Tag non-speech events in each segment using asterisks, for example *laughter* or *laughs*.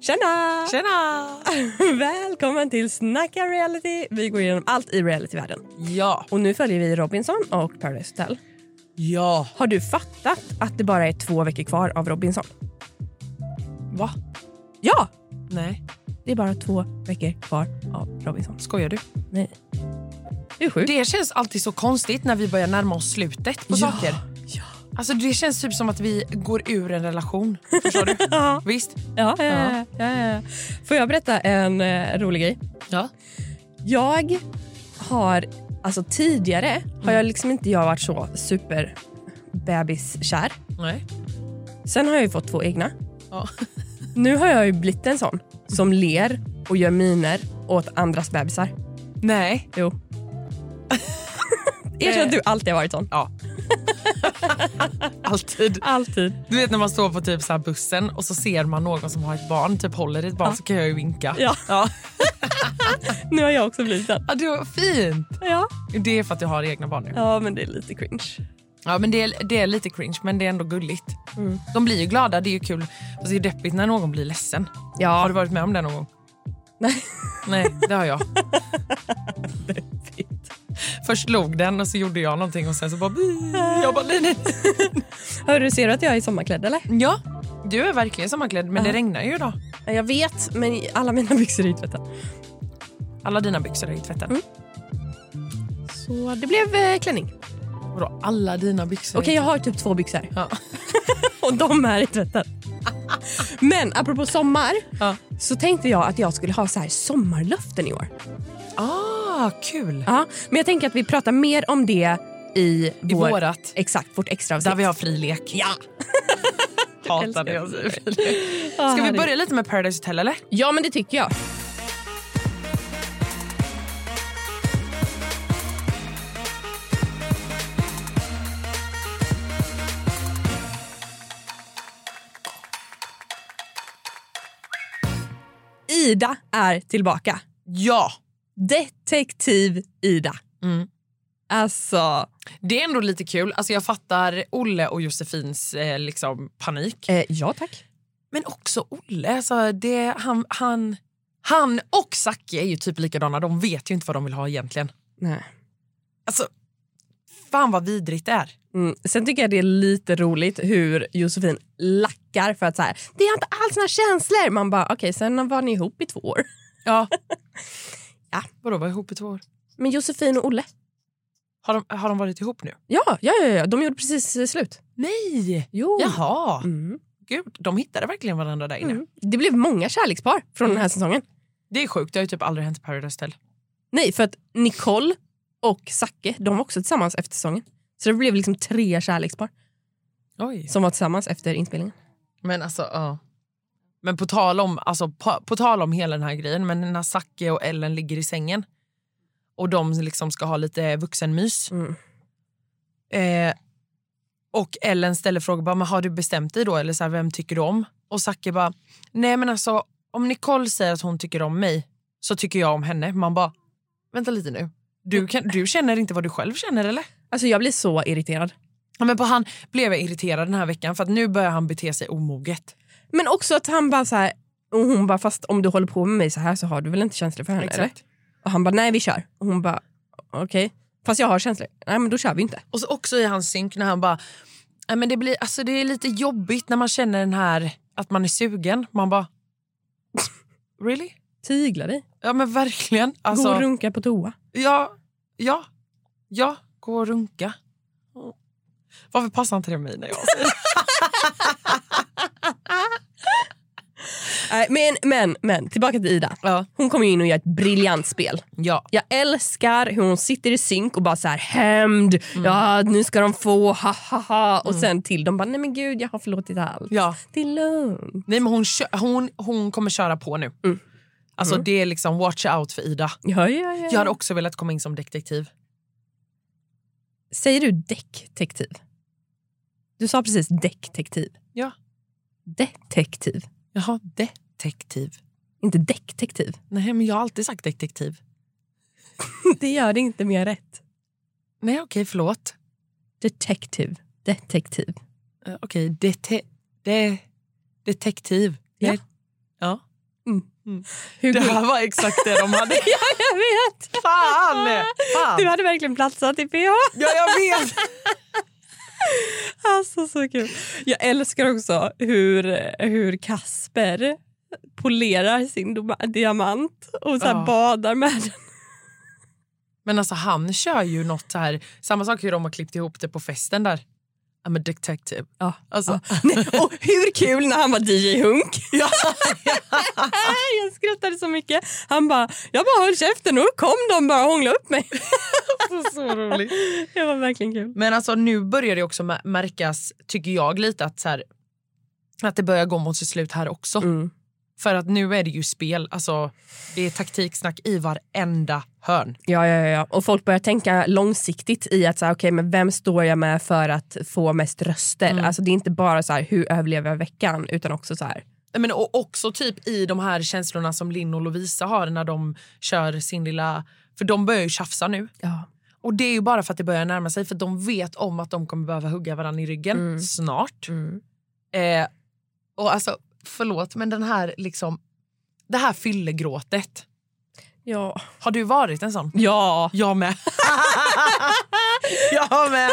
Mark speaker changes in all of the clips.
Speaker 1: Tjena! Välkommen till Snacka reality. Vi går igenom allt i realityvärlden.
Speaker 2: Ja.
Speaker 1: Och nu följer vi Robinson och Paradise Hotel.
Speaker 2: Ja.
Speaker 1: Har du fattat att det bara är två veckor kvar av Robinson?
Speaker 2: Va?
Speaker 1: Ja!
Speaker 2: Nej.
Speaker 1: Det är bara två veckor kvar av Robinson.
Speaker 2: Skojar du?
Speaker 1: Nej. Du är sjuk.
Speaker 2: Det känns alltid så konstigt när vi börjar närma oss slutet på
Speaker 1: Ja,
Speaker 2: saker. Alltså det känns typ som att vi går ur en relation. Förstår du? Visst?
Speaker 1: *laughs* Ja, ja, ja, ja, ja. Får jag berätta en eh, rolig grej?
Speaker 2: Ja.
Speaker 1: Jag har... Alltså tidigare har
Speaker 2: Mm.
Speaker 1: jag liksom inte jag varit så super bebiskär.
Speaker 2: Nej.
Speaker 1: Sen har jag ju fått två egna.
Speaker 2: Ja.
Speaker 1: *laughs* Nu har jag ju blivit en sån som ler och gör miner åt andras bebisar.
Speaker 2: Nej.
Speaker 1: Jo. *laughs* Erkänn att du alltid har varit sån.
Speaker 2: Ja. Alltid.
Speaker 1: Alltid.
Speaker 2: Du vet när man står på typ så här bussen och så ser man någon som har ett barn, typ håller i ett barn så kan jag ju vinka.
Speaker 1: Ja.
Speaker 2: Ja.
Speaker 1: Nu har jag också blivit den.
Speaker 2: ja det var fint.
Speaker 1: Ja.
Speaker 2: Det är för att jag har egna barn nu.
Speaker 1: ja, men det är lite cringe.
Speaker 2: Ja, men det, är, det är lite cringe, men det är ändå gulligt.
Speaker 1: Mm.
Speaker 2: De blir ju glada, det är ju kul. Fast det är ju deppigt när någon blir ledsen. Har
Speaker 1: Ja.
Speaker 2: du varit med om det någon gång?
Speaker 1: Nej.
Speaker 2: Nej, det har jag. Först log den och så gjorde jag någonting och sen så bara... "Bi." Jag bara nej, nej.
Speaker 1: *laughs* Hörru, ser du att jag är i sommarklädd eller?
Speaker 2: Ja, du är verkligen sommarklädd men det regnar ju idag.
Speaker 1: Jag vet, men alla mina byxor är ju tvättade.
Speaker 2: Alla dina byxor är ju tvättade.
Speaker 1: Mm. Så det blev eh, klänning.
Speaker 2: Vadå, alla dina byxor?
Speaker 1: Okej, jag har typ två byxor.
Speaker 2: Ja.
Speaker 1: *laughs* Och de är i *laughs* tvätten. Men apropå sommar
Speaker 2: Ja.
Speaker 1: så tänkte jag att jag skulle ha så här sommarlöften i år.
Speaker 2: Ah, kul!
Speaker 1: Ja, men jag tänker att vi pratar mer om det i,
Speaker 2: I
Speaker 1: vår,
Speaker 2: vårat,
Speaker 1: Exakt, vårt extra
Speaker 2: där vi har fri lek. Ja! Hatar det. *laughs* Ah, jag säger fri lek. *laughs* Ska vi börja lite med Paradise Hotel eller?
Speaker 1: Ja, men det tycker jag. Ida är tillbaka.
Speaker 2: Ja!
Speaker 1: Detektiv Ida.
Speaker 2: Mm.
Speaker 1: Alltså...
Speaker 2: Det är ändå lite kul. Alltså jag fattar Olle och Josefins eh, liksom, panik.
Speaker 1: ja, tack.
Speaker 2: Men också Olle. Alltså det, han, han, han och Zacke är ju typ likadana. De vet ju inte vad de vill ha egentligen.
Speaker 1: Nej.
Speaker 2: Alltså, fan vad vidrigt det är.
Speaker 1: Mm. Sen tycker jag det är lite roligt hur Josefin lackar för att så här, det är inte alls några känslor. Man bara, okej, sen var ni ihop i två år.
Speaker 2: Ja.
Speaker 1: Ja.
Speaker 2: Vadå, var ihop i två år?
Speaker 1: Men Josefin och Olle?
Speaker 2: Har de, har de varit ihop nu?
Speaker 1: Ja, ja, ja, ja. de gjorde precis eh, slut.
Speaker 2: Nej!
Speaker 1: Jo.
Speaker 2: Jaha,
Speaker 1: Mm.
Speaker 2: gud. De hittade verkligen varandra där inne.
Speaker 1: Mm. Det blev många kärlekspar från den här säsongen.
Speaker 2: Det är sjukt, det har ju typ aldrig hänt i Paradise Hotel.
Speaker 1: Nej, för att Nicole och Zacke, de var också tillsammans efter säsongen. Så det blev liksom tre kärlekspar
Speaker 2: Oj.
Speaker 1: som var tillsammans efter inspelningen.
Speaker 2: Men alltså, ja. Men på tal, om, alltså, på, på tal om hela den här grejen, men när Zacke och Ellen ligger i sängen och de liksom ska ha lite vuxenmys.
Speaker 1: Mm.
Speaker 2: Eh, och Ellen ställer frågan, bara, men har du bestämt dig då? Eller så här, vem tycker du om? Och Zacke bara, nej men alltså om Nicole säger att hon tycker om mig så tycker jag om henne. Man bara, vänta lite nu. Du, kan, du känner inte vad du själv känner eller?
Speaker 1: Alltså jag blir så irriterad.
Speaker 2: Ja, men på han blev jag irriterad den här veckan för att nu börjar han bete sig omoget.
Speaker 1: Men också att han bara så här, och hon bara, fast om du håller på med mig så här så har du väl inte känslor för henne? Eller? Och han bara, nej vi kör. Och hon bara, okej. Fast jag har känslor. Nej men då kör vi inte.
Speaker 2: Och så också i hans synk när han bara... "Nej, Men det, blir, alltså det är lite jobbigt när man känner den här att man är sugen. Man bara... Really?
Speaker 1: Tygla dig.
Speaker 2: Ja, men verkligen. Alltså,
Speaker 1: Gå och runka på toa.
Speaker 2: Ja, ja, ja. Gå och runka. Mm. Varför passar inte det mig när jag säger det?
Speaker 1: Nej, Men, men, men, tillbaka till Ida.
Speaker 2: ja.
Speaker 1: Hon kommer ju in och gör ett briljant spel.
Speaker 2: ja.
Speaker 1: Jag älskar hur hon sitter i synk och bara så här hämnd,
Speaker 2: Mm.
Speaker 1: ja nu ska de få, ha ha ha. Och sen till de bara, nej men gud jag har förlåtit allt.
Speaker 2: ja.
Speaker 1: Det är lugnt.
Speaker 2: Nej, men hon, kö- hon, hon kommer köra på nu. Alltså Det är liksom watch out för Ida.
Speaker 1: Ja, ja, ja.
Speaker 2: Jag hade också velat komma in som detektiv.
Speaker 1: Säger du detektiv? Du sa precis detektiv.
Speaker 2: Ja.
Speaker 1: Detektiv.
Speaker 2: Jaha, detektiv.
Speaker 1: Inte detektiv. *laughs*
Speaker 2: Nej, men jag har alltid sagt detektiv.
Speaker 1: Det gör det inte mer rätt.
Speaker 2: Nej, okej, förlåt.
Speaker 1: Detective. Detektiv.
Speaker 2: Eh, Okej, dete, de, detektiv.
Speaker 1: Ja.
Speaker 2: Det- ja.
Speaker 1: Hur
Speaker 2: Det
Speaker 1: går-
Speaker 2: här var exakt det de *laughs* hade.
Speaker 1: *laughs* ja, jag vet!
Speaker 2: Fan!
Speaker 1: Du
Speaker 2: Fan.
Speaker 1: hade verkligen platsat i PH.
Speaker 2: Ja, jag vet.
Speaker 1: *laughs* Alltså så kul. Jag älskar också hur, hur Kasper polerar sin doma- diamant och så här
Speaker 2: Ja.
Speaker 1: badar med den. *laughs*
Speaker 2: Men alltså han kör ju något så här. Samma sak hur de har klippt ihop det på festen där. I'm a detective.
Speaker 1: Ja.
Speaker 2: Alltså,
Speaker 1: Nej, och hur kul när han var DJ
Speaker 2: *laughs*
Speaker 1: Hunk. *laughs* jag skrattade så mycket. Han bara, jag bara höll käften och då kom de bara och hånglade upp mig.
Speaker 2: *laughs* så roligt.
Speaker 1: *laughs* Det var verkligen kul.
Speaker 2: Men alltså nu börjar det också mä- märkas, tycker jag lite, att, så här, att det börjar gå mot sitt slut här också.
Speaker 1: Mm.
Speaker 2: För att nu är det ju spel. Alltså, det är taktiksnack i varenda hörn.
Speaker 1: Ja, ja, ja, ja. Och folk börjar tänka långsiktigt i att så här, okej, men vem står jag med för att få mest röster.
Speaker 2: Mm.
Speaker 1: Alltså, det är inte bara så här, hur överlever jag veckan utan också så här.
Speaker 2: Nej, Men, och också typ i de här känslorna som Linn och Lovisa har när de kör sin lilla... För de börjar ju tjafsa nu.
Speaker 1: Ja.
Speaker 2: Och det är ju bara för att det börjar närma sig. För de vet om att de kommer behöva hugga varandra i ryggen
Speaker 1: Mm.
Speaker 2: snart. Eh, och alltså, förlåt, men den här liksom... Det här fyllegråtet.
Speaker 1: Ja.
Speaker 2: Har du varit en sån?
Speaker 1: ja. *laughs*
Speaker 2: Jag med. jag med.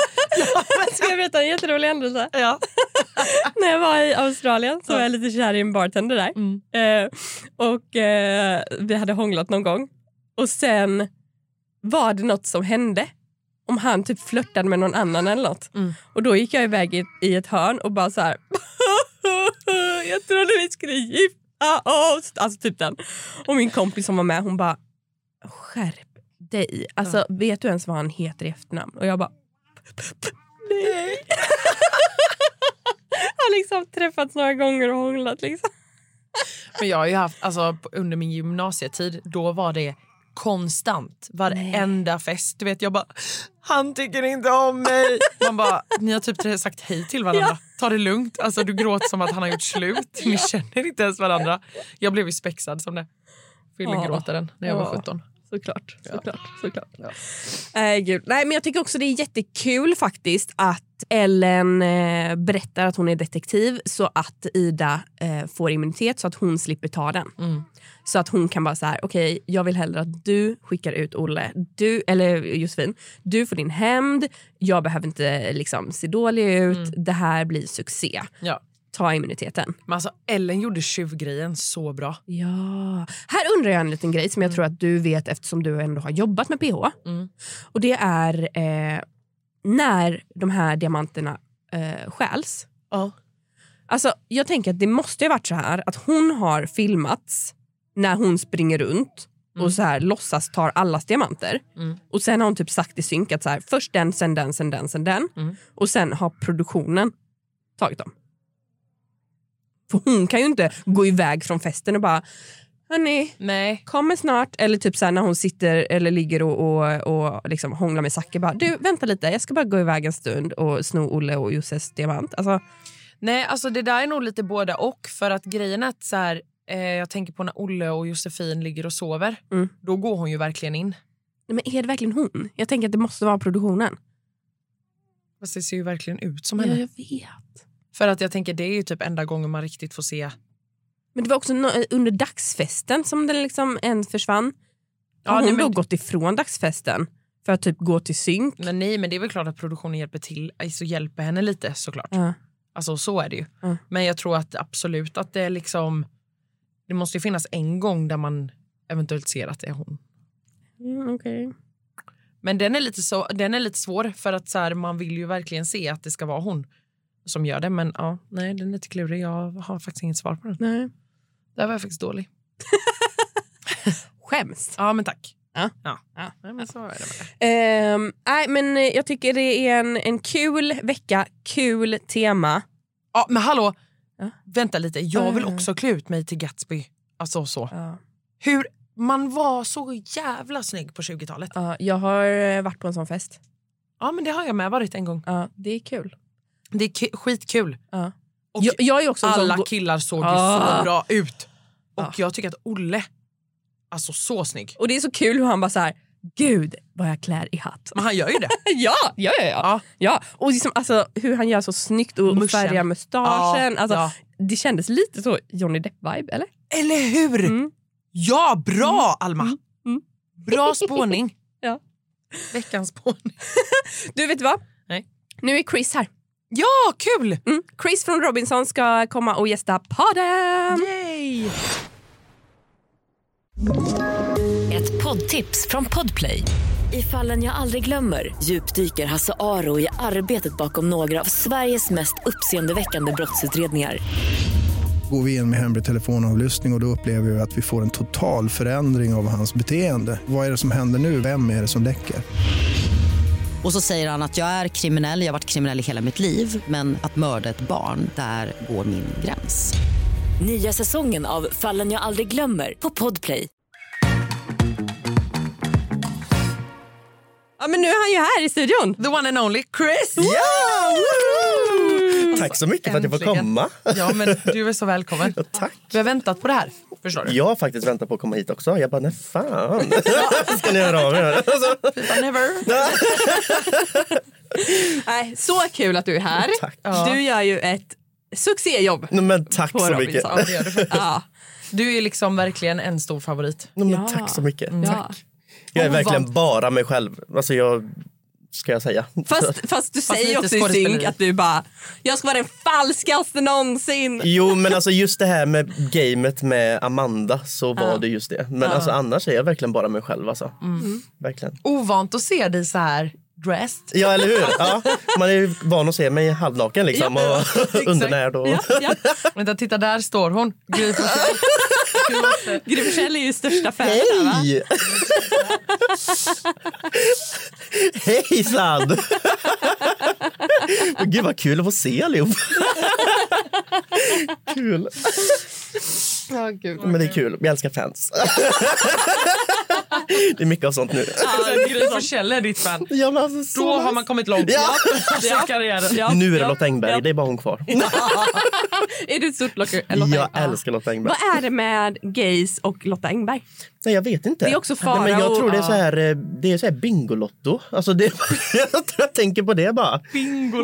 Speaker 1: Ska *laughs* jag berätta en jätterolig händelse?
Speaker 2: Ja.
Speaker 1: *laughs* När jag var i Australien så var jag lite kär i en bartender där.
Speaker 2: Mm.
Speaker 1: Eh, och eh, vi hade hånglat någon gång. Och sen var det något som hände. Om han typ flörtade med någon annan eller något.
Speaker 2: Mm.
Speaker 1: Och då gick jag iväg i, i ett hörn och bara så här. *laughs* jag trodde vi skulle gifta oss. Alltså typ den. Och min kompis som var med hon bara skärp dig. Alltså vet du ens vad han heter i efternamn? Och jag bara *laughs* nej. Har liksom träffats några gånger och hånglat liksom.
Speaker 2: Men jag har ju haft, alltså, på- under min gymnasietid, då var det konstant. Varenda fest. Du vet, jag bara, han tycker inte om mig. *laughs* Man bara, ni har typ sagt hej till varandra. Ta det lugnt. Alltså, du gråter som att han har gjort slut. Ni känner inte ens varandra. Jag blev ju spexad som det. Fyllegråtaren när jag var
Speaker 1: Ja.
Speaker 2: 17.
Speaker 1: Såklart. såklart, såklart.
Speaker 2: Ja.
Speaker 1: Nej, Eh, gud. Nej, men jag tycker också det är jättekul faktiskt att Ellen eh, berättar att hon är detektiv så att Ida eh, får immunitet så att hon slipper ta den.
Speaker 2: Mm.
Speaker 1: Så att hon kan bara så här, okej, jag vill hellre att du skickar ut Olle, du, eller Josefin, du får din hämnd, jag behöver inte liksom se dålig ut, det här blir succé.
Speaker 2: Ja.
Speaker 1: Ta immuniteten.
Speaker 2: Men alltså, Ellen gjorde tjuvgrejen så bra.
Speaker 1: Ja. Här undrar jag en liten grej som jag tror att du vet eftersom du ändå har jobbat med PH.
Speaker 2: Mm.
Speaker 1: Och det är eh, när de här diamanterna eh, stjäls.
Speaker 2: Ja.
Speaker 1: Alltså, jag tänker att det måste ju ha varit så här att hon har filmats när hon springer runt och så här låtsas tar allas diamanter.
Speaker 2: Mm.
Speaker 1: Och sen har hon typ sagt i synk att så här, först den, sen den, sen den, sen den.
Speaker 2: Mm.
Speaker 1: Och sen har produktionen tagit dem. För hon kan ju inte gå iväg från festen och bara Hörni,
Speaker 2: Nej.
Speaker 1: kommer snart. Eller typ så här när hon sitter eller ligger och, och, och liksom hånglar med Zacke. Bara, du, vänta lite, jag ska bara gå iväg en stund och sno Olle och Josses diamant. Alltså,
Speaker 2: Nej, alltså det där är nog lite båda och. För att grejen är att så här, eh, jag tänker på när Olle och Josefin ligger och sover.
Speaker 1: Mm.
Speaker 2: Då går hon ju verkligen in.
Speaker 1: nej, men är det verkligen hon? Jag tänker att det måste vara produktionen.
Speaker 2: Fast det ser ju verkligen ut som henne.
Speaker 1: vet.
Speaker 2: För att jag tänker det är ju typ enda gången man riktigt får se.
Speaker 1: Men det var också nå- under dagsfesten som den liksom en försvann.
Speaker 2: Ja,
Speaker 1: Har
Speaker 2: nej,
Speaker 1: hon då
Speaker 2: men-
Speaker 1: gått ifrån dagsfesten för att typ gå till synk?
Speaker 2: Men nej, men det är väl klart att produktionen hjälper till. Alltså hjälper henne lite såklart.
Speaker 1: Ja.
Speaker 2: Alltså så är det ju.
Speaker 1: Ja.
Speaker 2: Men jag tror att absolut att det är liksom. Det måste ju finnas en gång där man eventuellt ser att det är hon.
Speaker 1: Mm, okej.
Speaker 2: Men den är lite, så, den är lite svår för att så här, man vill ju verkligen se att det ska vara hon som gör det. Men ja, nej, den är lite klurig. Jag har faktiskt inget svar på den.
Speaker 1: Nej.
Speaker 2: Där var jag faktiskt dålig.
Speaker 1: Skäms.
Speaker 2: Ja, men tack.
Speaker 1: Ja.
Speaker 2: ja.
Speaker 1: Ja.
Speaker 2: Nej, men så är det med det.
Speaker 1: Ehm, nej, men eh, jag tycker det är en, en kul vecka, kul tema.
Speaker 2: Ja, men hallå!
Speaker 1: Ja.
Speaker 2: Vänta lite, jag vill
Speaker 1: Mm.
Speaker 2: också klä ut mig till Gatsby. Alltså så.
Speaker 1: Ja.
Speaker 2: Hur man var så jävla snygg på 20-talet.
Speaker 1: jag har eh, varit på en sån fest.
Speaker 2: Ja, men det har jag med varit en gång.
Speaker 1: Ja, det är kul.
Speaker 2: Det är ki- skitkul.
Speaker 1: Ja.
Speaker 2: Och
Speaker 1: jag, jag är också en sån
Speaker 2: alla
Speaker 1: gå-
Speaker 2: killar såg ju
Speaker 1: Ah.
Speaker 2: så bra ut. Och
Speaker 1: Ah.
Speaker 2: jag tycker att Olle, alltså så snygg.
Speaker 1: Och det är så kul hur han bara så här, gud vad jag klär i hatt.
Speaker 2: Men han gör ju det.
Speaker 1: *laughs* ja, ja, ja, ja.
Speaker 2: Ja.
Speaker 1: ja. Och liksom, alltså, hur han gör så snyggt och, och
Speaker 2: Muschen.
Speaker 1: färgar mustaschen.
Speaker 2: Ja,
Speaker 1: alltså,
Speaker 2: ja.
Speaker 1: Det kändes lite så Johnny Depp-vibe, eller?
Speaker 2: *laughs* Eller hur?
Speaker 1: Mm.
Speaker 2: Ja, bra Alma!
Speaker 1: mm.
Speaker 2: Bra spåning.
Speaker 1: Ja.
Speaker 2: Veckans spåning.
Speaker 1: *laughs* Du, vet du vad?
Speaker 2: Nej.
Speaker 1: Nu är Chris här.
Speaker 2: *laughs* Ja, kul!
Speaker 1: Mm. Chris från Robinson ska komma och gästa podden.
Speaker 2: Yay!
Speaker 3: Ett poddtips från Podplay. I fallen jag aldrig glömmer djupdyker Hasse Aro i arbetet bakom några av Sveriges mest uppseendeväckande brottsutredningar.
Speaker 4: går vi in med hemlig telefonavlyssning och, och då upplever vi att vi får en total förändring av hans beteende. Vad är det som händer nu? Vem är det som läcker?
Speaker 5: Och så säger han att jag är kriminell, jag har varit kriminell i hela mitt liv men att mörda ett barn, där går min gräns.
Speaker 3: Nya säsongen av Fallen jag aldrig glömmer på Podplay.
Speaker 1: Ja, men nu är han ju här i studion.
Speaker 2: The one and only Chris!
Speaker 6: Tack så mycket för att jag får
Speaker 2: Äntligen.
Speaker 6: komma.
Speaker 2: Ja, men du är så välkommen.
Speaker 6: Tack.
Speaker 2: Vi har väntat på det här. Förstår du?
Speaker 6: Jag har faktiskt väntat på att komma hit också. Jag bara, när
Speaker 2: *laughs*
Speaker 6: fan *laughs* ska ni höra av er? Alltså, *laughs*
Speaker 2: Never.
Speaker 1: Nej, så kul att du är här.
Speaker 6: Tack.
Speaker 1: Du gör ju ett succéjobb
Speaker 6: nej, men tack
Speaker 1: på
Speaker 6: så mycket.
Speaker 1: Robinson.
Speaker 2: det gör du faktiskt.
Speaker 1: Ja.
Speaker 2: Du är liksom verkligen en stor favorit.
Speaker 6: Nej, men
Speaker 1: Ja. Mm.
Speaker 6: Tack så mycket.
Speaker 2: Mm.
Speaker 1: Ja.
Speaker 6: Jag är
Speaker 2: Ovant.
Speaker 6: verkligen bara mig själv. Alltså, jag ska jag säga.
Speaker 1: Fast, fast du säger
Speaker 2: lite
Speaker 1: också i
Speaker 2: skådespeleri.
Speaker 1: synk att du bara, jag ska vara den falskaste någonsin.
Speaker 6: Jo, men alltså just det här med gamet med Amanda så var det just det. Men alltså, annars är jag verkligen bara mig själv. Alltså.
Speaker 1: Mm.
Speaker 6: Verkligen.
Speaker 2: Ovant att se dig så här dressed.
Speaker 6: Ja, eller hur? Ja. Man är ju van att se mig halvnaken liksom,
Speaker 2: Ja,
Speaker 1: *laughs*
Speaker 6: och undernärd. Och...
Speaker 1: Ja, ja.
Speaker 2: *laughs* Vänta, titta där står hon. Gry Forssell. Du måste-
Speaker 1: *laughs* Gry Forssell är ju största fan. där, va?
Speaker 6: Hej! Hejsan! Men Gud vad kul att få se allihop. kul. Men det är kul, jag älskar fans. det är mycket av sånt nu.
Speaker 2: Gry Forssell är ditt fan.
Speaker 6: Ja, men alltså, så
Speaker 2: Då har man kommit långt.
Speaker 6: Ja.
Speaker 2: Ja. Karriären.
Speaker 1: Ja,
Speaker 6: Nu är det
Speaker 1: ja,
Speaker 6: Lotta Engberg,
Speaker 1: ja.
Speaker 6: det är bara hon kvar.
Speaker 1: *laughs* Är du ett stort locker? Lotta
Speaker 6: Jag
Speaker 1: Engberg?
Speaker 6: älskar Lotta Engberg.
Speaker 1: Vad är det med gays och Lotta Engberg?
Speaker 6: Nej, jag vet inte.
Speaker 1: Det är också
Speaker 6: Nej, men
Speaker 1: fara
Speaker 6: jag
Speaker 1: och-
Speaker 6: tror det är så
Speaker 1: ja.
Speaker 6: här, eh, det är så här Bingolotto. Alltså det, *laughs* jag tror jag tänker på det bara.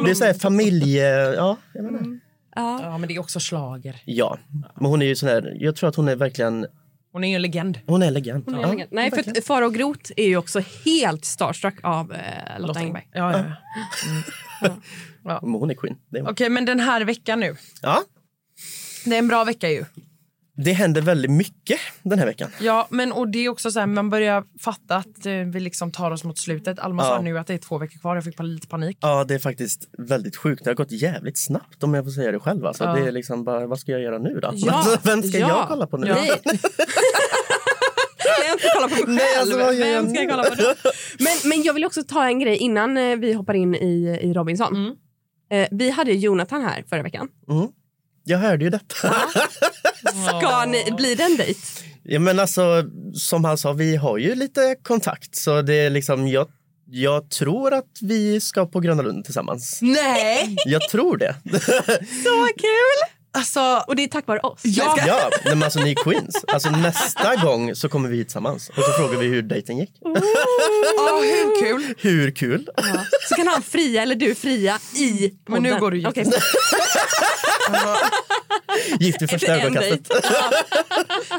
Speaker 6: Det är så här familje... Ja, jag menar.
Speaker 1: Mm.
Speaker 2: Ja, men det är också slager.
Speaker 6: Ja, men hon är ju sån här, jag tror att hon är verkligen,
Speaker 2: Hon är ju en legend.
Speaker 6: hon är elegant. ja.
Speaker 1: Nej, för att Farao Groth är ju också helt starstruck av eh, Lotta Engberg.
Speaker 2: Ja, ja. ja.
Speaker 6: Men hon är queen. Det, är hon.
Speaker 2: Okej, men den här veckan nu.
Speaker 6: Ja,
Speaker 2: Det är en bra vecka ju.
Speaker 6: det händer väldigt mycket den här veckan.
Speaker 2: Ja, men och det är också så här, man börjar fatta att eh, vi liksom tar oss mot slutet. Alma sa
Speaker 6: Ja.
Speaker 2: nu att det är två veckor kvar. Jag fick pa- lite panik.
Speaker 6: Ja, det är faktiskt väldigt sjukt. Det har gått jävligt snabbt om jag får säga det själv. Alltså,
Speaker 2: Ja.
Speaker 6: Det är liksom bara, vad ska jag göra nu då?
Speaker 1: Ja,
Speaker 6: *laughs* Vem ska
Speaker 1: ja,
Speaker 6: jag kolla på nu?
Speaker 1: *laughs* Nej. Jag ska kolla på mig
Speaker 6: Nej, alltså, vad
Speaker 1: själv.
Speaker 6: gör jag
Speaker 1: Vem ska jag
Speaker 6: nu?
Speaker 1: kolla på då? men, men jag vill också ta en grej innan eh, vi hoppar in i, i Robinson. Eh, vi hade ju Jonathan här förra veckan.
Speaker 6: Jag hörde ju detta.
Speaker 1: Ska ni, blir det en dejt?
Speaker 6: Ja, men alltså, som han sa, vi har ju lite kontakt. Så det är liksom, jag, jag tror att vi ska på Gröna Lund tillsammans.
Speaker 2: Nej!
Speaker 6: Jag tror det.
Speaker 1: Så kul!
Speaker 2: Alltså,
Speaker 1: Och det är tack vare oss.
Speaker 2: ja.
Speaker 6: *laughs* Ja, nej, men alltså ni är queens. Alltså, nästa gång så kommer vi hit tillsammans och så frågar vi hur dejten gick.
Speaker 2: Åh, hur kul!
Speaker 6: Hur kul?
Speaker 1: Ja. Så kan han fria eller du fria i podden.
Speaker 2: Men nu går du ju.
Speaker 1: Okej,
Speaker 6: Gift vid första
Speaker 1: efter en
Speaker 6: ögonkastet.
Speaker 1: dejt.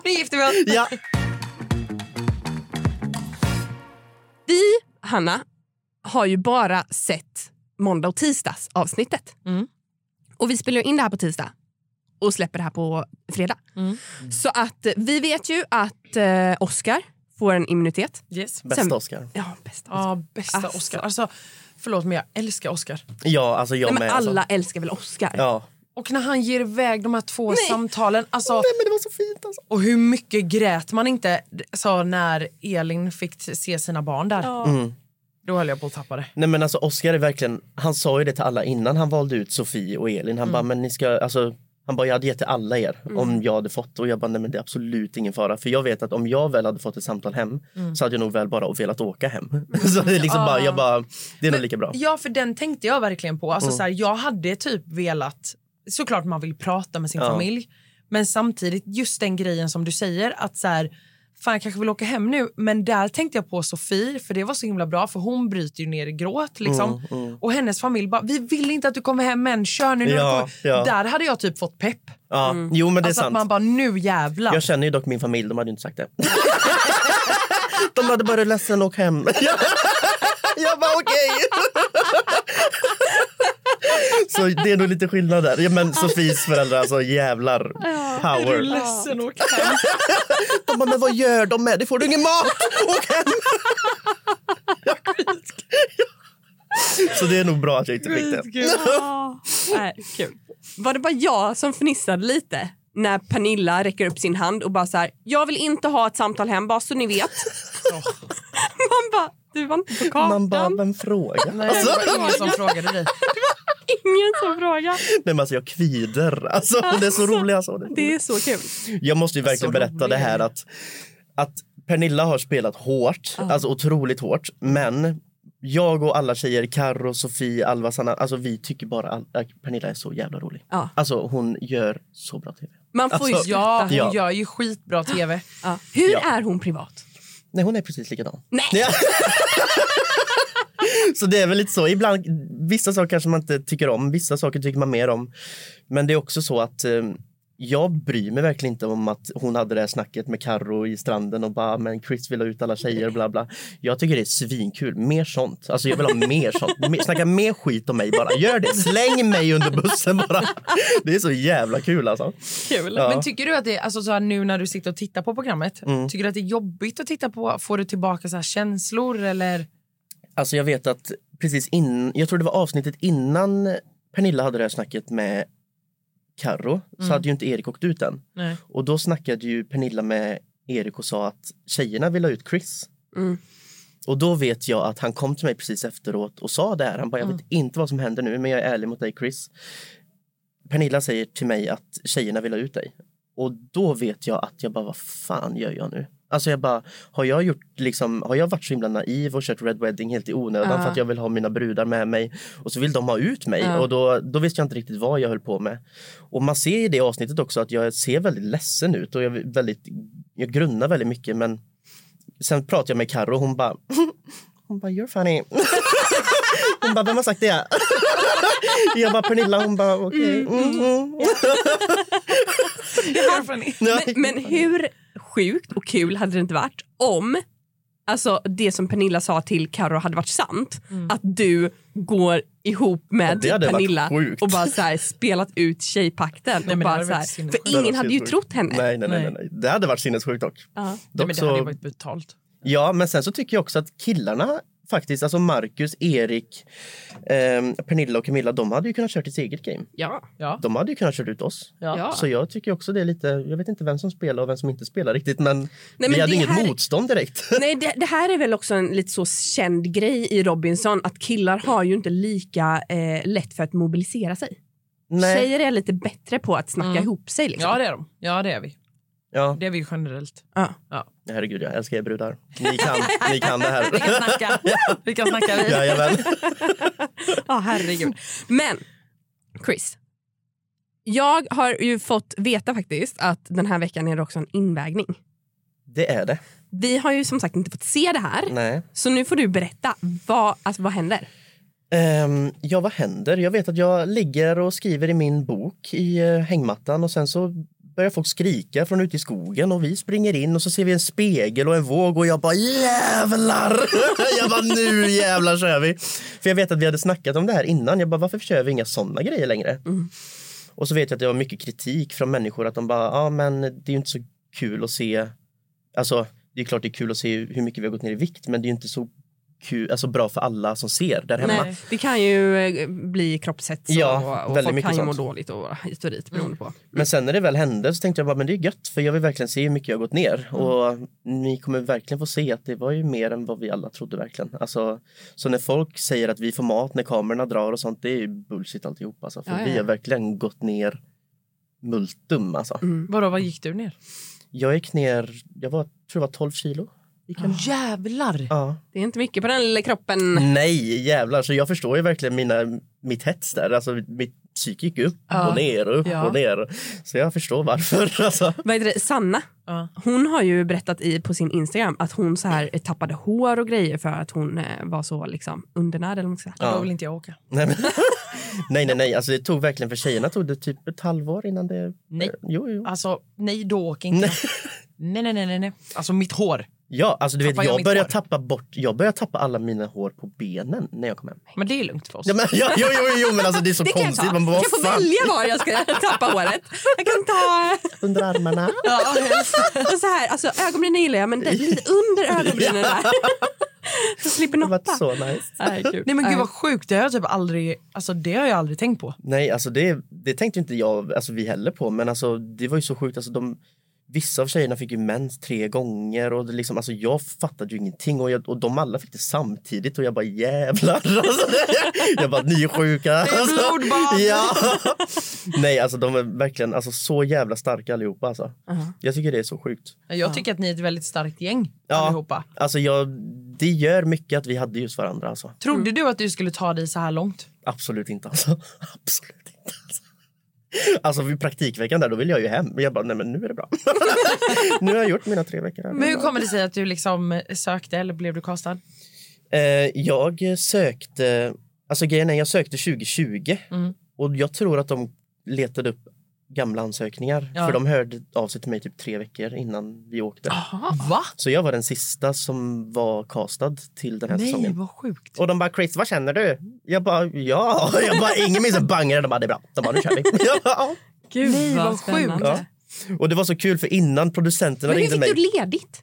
Speaker 2: Nu gifter vi oss.
Speaker 6: Ja.
Speaker 1: Vi, Hanna, har ju bara sett måndag och tisdags avsnittet.
Speaker 2: Mm.
Speaker 1: Och vi spelar ju in det här på tisdag och släpper det här på fredag.
Speaker 2: Mm.
Speaker 1: Så att eh, vi vet ju att eh, Oscar får en immunitet.
Speaker 2: Yes.
Speaker 1: Sen-
Speaker 6: Bästa Oscar.
Speaker 1: Ja, bästa Oscar.
Speaker 2: Ja, bästa
Speaker 1: Alltså.
Speaker 2: Oscar. Alltså, förlåt, men jag älskar Oscar.
Speaker 6: Ja, alltså jag
Speaker 1: Nej, men
Speaker 6: med.
Speaker 1: alla
Speaker 6: Alltså.
Speaker 1: älskar väl Oscar?
Speaker 6: Ja.
Speaker 2: Och när han ger iväg de här två
Speaker 1: Nej.
Speaker 2: samtalen. Alltså,
Speaker 6: Nej, men det var så fint alltså.
Speaker 2: och hur mycket grät man inte alltså, när Elin fick se sina barn där. Då höll jag på att tappa det.
Speaker 6: Nej men
Speaker 2: Mm.
Speaker 6: alltså Oscar är verkligen, han sa ju det till alla innan han valde ut Sofie och Elin. Han bara, men ni ska, alltså Han bara, jag hade gett till alla er om jag hade fått. Och jag bara, nej men det är absolut ingen fara. För jag vet att om jag väl hade fått ett samtal hem
Speaker 2: Mm.
Speaker 6: så hade jag nog väl bara velat
Speaker 2: *laughs*
Speaker 6: åka hem. så det är liksom bara, jag bara, det är nog lika bra.
Speaker 2: Ja, för den tänkte jag verkligen på.
Speaker 6: Mm.
Speaker 2: Alltså, så här, jag hade typ velat... Såklart man vill prata med sin
Speaker 6: Ja.
Speaker 2: familj. Men samtidigt, just den grejen som du säger att så här, fan jag kanske vill åka hem nu. Men där tänkte jag på Sofie, för det var så himla bra för hon bryter ju ner i gråt. Liksom.
Speaker 6: Mm,
Speaker 2: Och hennes familj bara, vi vill inte att du kommer hem än, kör nu. nu
Speaker 6: Ja,
Speaker 2: har du kommit."
Speaker 6: ja.
Speaker 2: Där hade jag typ fått pepp.
Speaker 6: Ja, jo men det är
Speaker 2: Alltså att
Speaker 6: sant.
Speaker 2: man bara, nu jävlar.
Speaker 6: Jag känner ju dock min familj, de hade ju inte sagt det. *laughs* de hade bara ledsen och *laughs* hem. jag bara okej. *laughs* Så det är nog lite skillnad där. Ja, men Sofies föräldrar, alltså jävlar. Power.
Speaker 2: ledsen och
Speaker 6: De bara, men vad gör de med det? Får du ingen mat? Åk hem! *laughs* Så det är nog bra att jag inte fick det.
Speaker 1: Nej, kul. Var det bara jag som fnissade lite när Pernilla räcker upp sin hand och bara så här, jag vill inte ha ett samtal hem bara så ni
Speaker 2: *laughs*
Speaker 1: vet. Man bara, du var inte på
Speaker 6: Man
Speaker 1: kartan.
Speaker 6: bara, vem frågar?
Speaker 2: Nej, det var ingen som frågade dig.
Speaker 1: Ingen som frågar.
Speaker 6: Nej, men alltså jag kvider. Alltså, det är så roligt. Alltså. Det är
Speaker 1: Det är så kul.
Speaker 6: Jag måste ju verkligen berätta det här att, att Pernilla har spelat hårt, alltså otroligt hårt, men jag och alla tjejer, Karo, Sofie, Alva, Sanna, alltså vi tycker bara all- att Pernilla är så jävla rolig.
Speaker 1: Ja.
Speaker 6: Alltså hon gör så bra tv.
Speaker 1: Man får ju
Speaker 6: Alltså,
Speaker 2: Ja,
Speaker 1: skratta.
Speaker 2: hon
Speaker 6: Ja.
Speaker 2: gör ju skitbra tv.
Speaker 1: Ja. Hur
Speaker 6: Ja.
Speaker 1: är hon privat?
Speaker 6: Nej, hon är precis likadan.
Speaker 1: Nej.
Speaker 6: Ja. *laughs* så det är väl lite så. Ibland, vissa saker kanske man inte tycker om, vissa saker tycker man mer om. Men det är också så att eh, jag bryr mig verkligen inte om att hon hade det här snacket med Karo i stranden och bara men Chris vill ha ut alla tjejer bla bla. Jag tycker det är svinkul. Mer sånt. Alltså jag vill ha mer sånt. Mer, snacka mer skit om mig bara. Gör det. Släng mig under bussen bara. Det är så jävla kul alltså.
Speaker 1: Kul.
Speaker 6: Ja.
Speaker 2: Men tycker du att det, alltså så här, nu när du sitter och tittar på programmet, tycker du att det är jobbigt att titta på? Får du tillbaka så här känslor eller?
Speaker 6: Alltså jag vet att precis in, jag tror det var avsnittet innan Pernilla hade det här snacket med Karo så hade ju inte Erik åkt ut än.
Speaker 2: Nej.
Speaker 6: Och då snackade ju Pernilla med Erik och sa att tjejerna vill ha ut Chris.
Speaker 1: Mm.
Speaker 6: Och då vet jag att han kom till mig precis efteråt och sa det här. Han bara, jag vet inte vad som händer nu men jag är ärlig mot dig Chris. Pernilla säger till mig att tjejerna vill ha ut dig. Och då vet jag att jag bara, vad fan gör jag nu? Alltså jag bara, har jag, gjort, liksom, har jag varit så himla naiv och kört Red Wedding helt i onödan för att jag vill ha mina brudar med mig och så vill de ha ut mig och då, då visste jag inte riktigt vad jag höll på med. Och man ser i det avsnittet också att jag ser väldigt ledsen ut och jag, är väldigt, jag grunnar väldigt mycket men sen pratade jag med Karo och hon *laughs* bara, hon bara you're funny. *laughs* hon bara, vem har sagt det? *laughs* jag bara, Pernilla, hon bara okej. Mm, *laughs* mm. *laughs*
Speaker 1: Men, men hur sjukt och kul hade det inte varit om alltså, det som Pernilla sa till Karo hade varit sant? Att du går ihop med
Speaker 6: Mm. det hade varit
Speaker 1: Pernilla
Speaker 6: sjukt.
Speaker 1: och bara så här, spelat ut tjejpakten. och
Speaker 2: men det
Speaker 1: bara,
Speaker 2: hade
Speaker 1: så
Speaker 2: varit
Speaker 1: här,
Speaker 2: sinnessjukt.
Speaker 1: för
Speaker 6: Det hade
Speaker 1: ingen
Speaker 6: varit
Speaker 1: hade ju
Speaker 6: sinnessjukt.
Speaker 1: trott henne.
Speaker 6: Nej, nej, nej, nej, nej. Det hade varit sinnessjukt dock.
Speaker 1: Ja.
Speaker 2: Nej,
Speaker 6: dock
Speaker 2: men det
Speaker 6: så-
Speaker 2: hade ju varit brutalt.
Speaker 6: Ja, men sen så tycker jag också att killarna faktiskt, alltså Marcus, Erik, ehm, Pernilla och Camilla, de hade ju kunnat kört ett eget game.
Speaker 1: Ja.
Speaker 2: Ja.
Speaker 6: De hade ju kunnat kört ut oss.
Speaker 1: Ja.
Speaker 6: Så jag tycker också det är lite, jag vet inte vem som spelar och vem som inte spelar riktigt, men,
Speaker 1: men
Speaker 6: vi hade
Speaker 1: det
Speaker 6: inget
Speaker 1: här-
Speaker 6: motstånd direkt. *laughs*
Speaker 1: Nej, det, det här är väl också en lite så känd grej i Robinson att killar har ju inte lika eh, lätt för att mobilisera sig. Tjejer är lite bättre på att snacka ihop sig. Liksom.
Speaker 2: Mm. ja, det är de. Ja, det är vi.
Speaker 6: Ja,
Speaker 2: Det är vi ju generellt.
Speaker 1: Ja.
Speaker 6: herregud, jag älskar er brudar. Ni kan, ni kan
Speaker 1: *laughs*
Speaker 6: det här.
Speaker 2: Vi kan snacka. Vi kan snacka lite.
Speaker 6: Jajamän.
Speaker 1: Ja, herregud. Men, Chris. Jag har ju fått veta faktiskt att den här veckan är det också en invägning.
Speaker 6: Det är det.
Speaker 1: Vi har ju som sagt inte fått se det här.
Speaker 6: Nej.
Speaker 1: Så nu får du berätta. Vad, alltså, vad händer?
Speaker 6: Ehm, ja, vad händer? Jag vet att jag ligger och skriver i min bok i eh, hängmattan och sen så börjar folk skrika från ute i skogen och vi springer in och så ser vi en spegel och en våg och jag bara jävlar! *laughs* jag bara nu jävlar kör vi! För jag vet att vi hade snackat om det här innan. Jag bara varför kör vi inga sådana grejer längre? Och så vet jag att det var mycket kritik från människor att de bara ja men det är ju inte så kul att se Alltså det är klart det är kul att se hur mycket vi har gått ner i vikt men det är ju inte så kul, alltså bra för alla som ser där hemma.
Speaker 1: Nej, det kan ju eh, bli kroppshets och,
Speaker 6: Ja,
Speaker 1: och
Speaker 6: väldigt
Speaker 1: folk
Speaker 6: mycket
Speaker 1: kan ju må
Speaker 6: sånt.
Speaker 1: dåligt och hit och dit beroende
Speaker 2: Mm.
Speaker 1: på.
Speaker 6: Men sen när det väl hände så tänkte jag bara, men det är gött för jag vill verkligen se hur mycket jag har gått ner. Och ni kommer verkligen få se att det var ju mer än vad vi alla trodde verkligen. Alltså, så när folk säger att vi får mat när kamerorna drar och sånt, det är ju bullshit alltihop. Alltså, för
Speaker 1: Ja, ja,
Speaker 6: vi
Speaker 1: ja.
Speaker 6: har verkligen gått ner multum alltså.
Speaker 1: Mm.
Speaker 2: Vadå, vad gick du ner?
Speaker 6: Jag gick ner, jag var, tror jag var 12 kilo. Gick jag ner.
Speaker 2: Jävlar!
Speaker 6: Ja.
Speaker 1: Det är inte mycket på den lilla kroppen.
Speaker 6: Nej, jävlar. Så jag förstår ju verkligen mina, mitt hets där. Alltså, mitt psyke gick upp
Speaker 2: Ja.
Speaker 6: och ner och upp
Speaker 2: Ja.
Speaker 6: och ner. Så jag förstår varför. *laughs* Alltså.
Speaker 1: Vad heter det? Sanna,
Speaker 2: Ja.
Speaker 1: hon har ju berättat i, på sin Instagram att hon så här eh, tappade hår och grejer för att hon eh, var så liksom undernärd. Eller vad man ska säga.
Speaker 2: Ja. Då vill inte jag åka.
Speaker 6: Nej, men, *laughs* nej, nej, nej. Alltså, det tog verkligen för tjejerna tog det typ ett halvår innan det...
Speaker 2: Nej.
Speaker 6: Jo, *laughs* jo.
Speaker 2: Alltså, nej, då åker inte jag. Nej, nej, nej, nej, nej. Alltså mitt hår.
Speaker 6: Ja, alltså du vet,
Speaker 2: Tappar jag
Speaker 6: jag
Speaker 2: mitt
Speaker 6: började
Speaker 2: hår?
Speaker 6: tappa bort, jag började tappa alla mina hår på benen när jag kom hem.
Speaker 2: Men det är lugnt för oss.
Speaker 6: Ja, men, *laughs* ja, jo, jo, jo, men alltså det är så
Speaker 1: Det kan jag ta.
Speaker 6: konstigt.
Speaker 1: Jag
Speaker 6: Man bara,
Speaker 1: får
Speaker 6: vad fan,
Speaker 1: välja *laughs* var jag ska tappa håret. Jag kan ta...
Speaker 6: under
Speaker 1: *laughs*
Speaker 6: armarna.
Speaker 1: Och så här, alltså, ögonbrynen gillar jag, men det, lite under ögonbrynen där. *laughs* Så slipper
Speaker 6: Det har varit
Speaker 1: noppa.
Speaker 6: så nice.
Speaker 1: Nej, kul.
Speaker 2: Nej men gud vad sjukt, det har jag typ aldrig, alltså det har jag aldrig tänkt på.
Speaker 6: Nej, alltså det, det tänkte inte jag, alltså vi heller på, men alltså det var ju så sjukt. Alltså de, vissa av tjejerna fick ju mens tre gånger och det liksom, alltså jag fattade ju ingenting och, jag, och de alla fick det samtidigt och jag bara jävlar. Alltså, *laughs* jag bara ni är sjuka. Alltså,
Speaker 2: blodbad.
Speaker 6: ja. *laughs* Nej, alltså de är verkligen alltså, så jävla starka allihopa alltså. Jag tycker det är så sjukt.
Speaker 2: Jag tycker att ni är ett väldigt starkt gäng
Speaker 6: Ja.
Speaker 2: allihopa.
Speaker 6: Alltså jag, det gör mycket att vi hade just varandra alltså.
Speaker 2: Trodde du att du skulle ta dig så här långt?
Speaker 6: Absolut inte alltså. *laughs* Absolut inte alltså. Alltså vid praktikveckan där, då ville jag ju hem. Men jag bara, nej men nu är det bra. *laughs* nu har jag gjort mina tre veckor här.
Speaker 2: Men hur kommer det sig att du liksom sökte eller blev du castad?
Speaker 6: Eh, jag sökte, alltså grejen är jag sökte 2020
Speaker 2: Mm.
Speaker 6: och jag tror att de letade upp gamla ansökningar.
Speaker 2: Ja. Ah.
Speaker 6: För de hörde av sig till mig typ tre veckor innan vi åkte.
Speaker 2: Va?
Speaker 6: Så jag var den sista som var castad till den här
Speaker 2: Nej
Speaker 6: säsongen.
Speaker 2: vad sjukt.
Speaker 6: Och de bara, Chris, vad känner du? Jag bara, ja. Jag bara, ingen minns en bangare. De bara, det är bra. De bara, nu kör vi. *laughs* Jag bara, ja.
Speaker 1: Gud,
Speaker 2: Nej, vad
Speaker 6: Ja. Och det var så kul för innan producenterna
Speaker 1: Men hur
Speaker 6: ringde
Speaker 1: fick
Speaker 6: mig.
Speaker 1: du ledigt?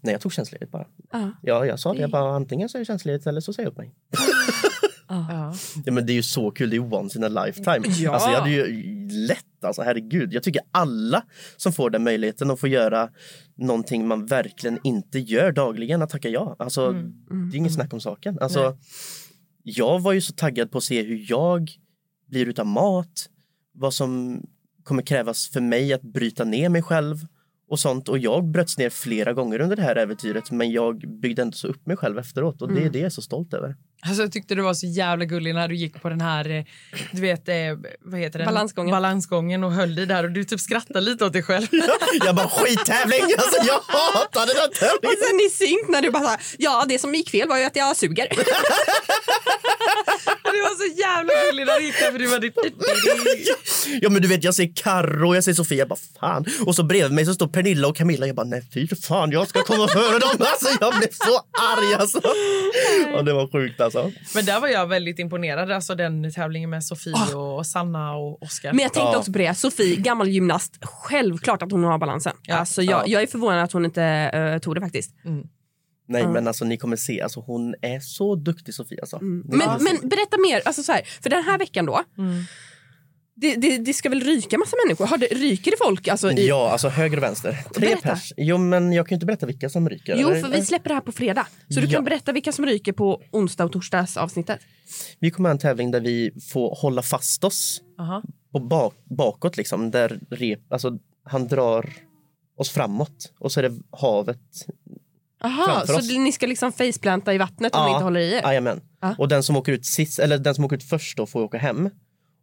Speaker 6: Nej, jag tog tjänstledigt bara.
Speaker 1: Ja.
Speaker 6: Ja, jag sa det. Jag bara, antingen så är det tjänstledigt eller så säger jag upp mig.
Speaker 2: Ja.
Speaker 6: Ja, men det är ju så kul. Det är ju once in a lifetime. Ja. Alltså, jag hade ju lätt, alltså herregud. Jag tycker alla som får den möjligheten att få göra någonting man verkligen inte gör dagligen att tacka ja. Alltså, det är inget snack om saken. Alltså, jag var ju så taggad på att se hur jag blir utan mat, vad som kommer krävas för mig att bryta ner mig själv och sånt. Och jag bröts ner flera gånger under det här äventyret men jag byggde ändå så upp mig själv efteråt och det är det jag är så stolt över.
Speaker 2: Alltså, jag tyckte du var så jävla gullig när du gick på den här eh, du vet, eh, vad heter den?
Speaker 1: Balansgången.
Speaker 2: balansgången och höll dig där och du typ skrattade lite åt dig själv. *laughs*
Speaker 6: *laughs* Jag bara skittävling! Alltså, jag hatar den här
Speaker 1: Och
Speaker 6: tävlingen!
Speaker 1: sen i synk när du bara så här, ja det som gick fel var ju att jag suger.
Speaker 2: Du var så jävla gullig när du gick där för du var ditt...
Speaker 6: Ja men du vet jag ser Karro jag ser Sofia, jag bara fan. Och så bredvid mig så står Pernilla och Camilla, jag bara nej fy fan jag ska komma före dem. *laughs* Alltså jag blev så arg
Speaker 1: *laughs*
Speaker 6: alltså. Ja, det var sjukt alltså.
Speaker 2: Men där var jag väldigt imponerad, alltså den tävlingen med Sofie och Sanna och Oskar.
Speaker 1: Ah. Men jag tänkte
Speaker 6: Ja.
Speaker 1: också på det, Sofie, gammal gymnast, självklart att hon har balansen.
Speaker 2: Ja.
Speaker 1: Alltså, jag,
Speaker 6: Ja.
Speaker 1: jag är förvånad att hon inte eh, tog det faktiskt.
Speaker 6: Nej men alltså ni kommer se, alltså, hon är så duktig Sofia alltså. Ni kommer
Speaker 1: Mm. Men,
Speaker 6: se.
Speaker 1: men berätta mer, alltså, så här, för den här veckan då, det, det, det ska väl ryka massa människor? Har det, ryker det folk? Alltså, i,
Speaker 6: Ja, alltså höger och vänster. Tre
Speaker 1: Berätta.
Speaker 6: pers. Jo, men jag kan ju inte berätta vilka som ryker.
Speaker 1: Jo,
Speaker 6: eller?
Speaker 1: för vi släpper det här på fredag. Så du
Speaker 6: Ja.
Speaker 1: kan berätta vilka som ryker på onsdag och torsdags avsnittet.
Speaker 6: vi kommer ha en tävling där vi får hålla fast oss
Speaker 2: Aha.
Speaker 6: på bak, bakåt liksom där rep, alltså han drar oss framåt och så är det havet.
Speaker 1: Aha,
Speaker 6: Framför
Speaker 1: så
Speaker 6: oss.
Speaker 1: ni ska liksom faceplanta i vattnet om ni inte håller i er?
Speaker 6: Jajamän.
Speaker 1: Ja.
Speaker 6: Och den som åker ut sist, eller den som åker ut först då får åka hem.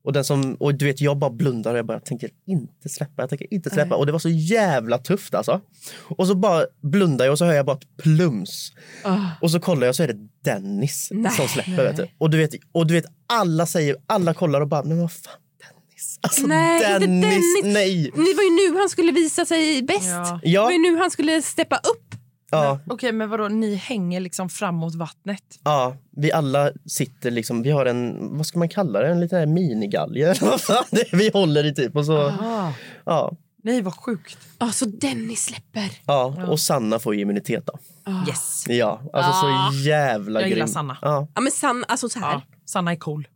Speaker 6: Och, den som, och du vet, jag bara blundar och jag bara jag tänker inte släppa, jag tänker inte släppa. Och det var så jävla tufft alltså. Och så bara blundar jag och så hör jag bara ett plums.
Speaker 1: Ah.
Speaker 6: Och så kollar jag så är det Dennis som släpper. Vet du. Och, du vet, och du vet, alla säger, alla kollar och bara, men vad fan Dennis? Alltså
Speaker 1: Nej, inte
Speaker 6: Dennis,
Speaker 1: Dennis.
Speaker 6: nej.
Speaker 1: Det var ju nu han skulle visa sig bäst.
Speaker 2: Ja.
Speaker 1: Det
Speaker 6: Ja,
Speaker 1: var ju nu han skulle steppa upp.
Speaker 6: ja,
Speaker 2: Okej, men vadå, ni hänger liksom framåt vattnet?
Speaker 6: ja, vi alla sitter liksom, vi har en, vad ska man kalla det, en liten här minigalge. *laughs* eller vad fan det är vi håller i typ. Och så,
Speaker 1: Ah.
Speaker 6: ja,
Speaker 2: Nej, vad sjukt.
Speaker 1: Ja, så Alltså, Dennis släpper.
Speaker 6: ja, och Sanna får ju immunitet då.
Speaker 1: Ah.
Speaker 2: Yes.
Speaker 6: Ja, alltså så jävla
Speaker 2: Jag gillar
Speaker 6: grym.
Speaker 2: Sanna.
Speaker 6: Ja.
Speaker 1: Ja, men Sanna, alltså så här.
Speaker 2: Ja, Sanna är cool.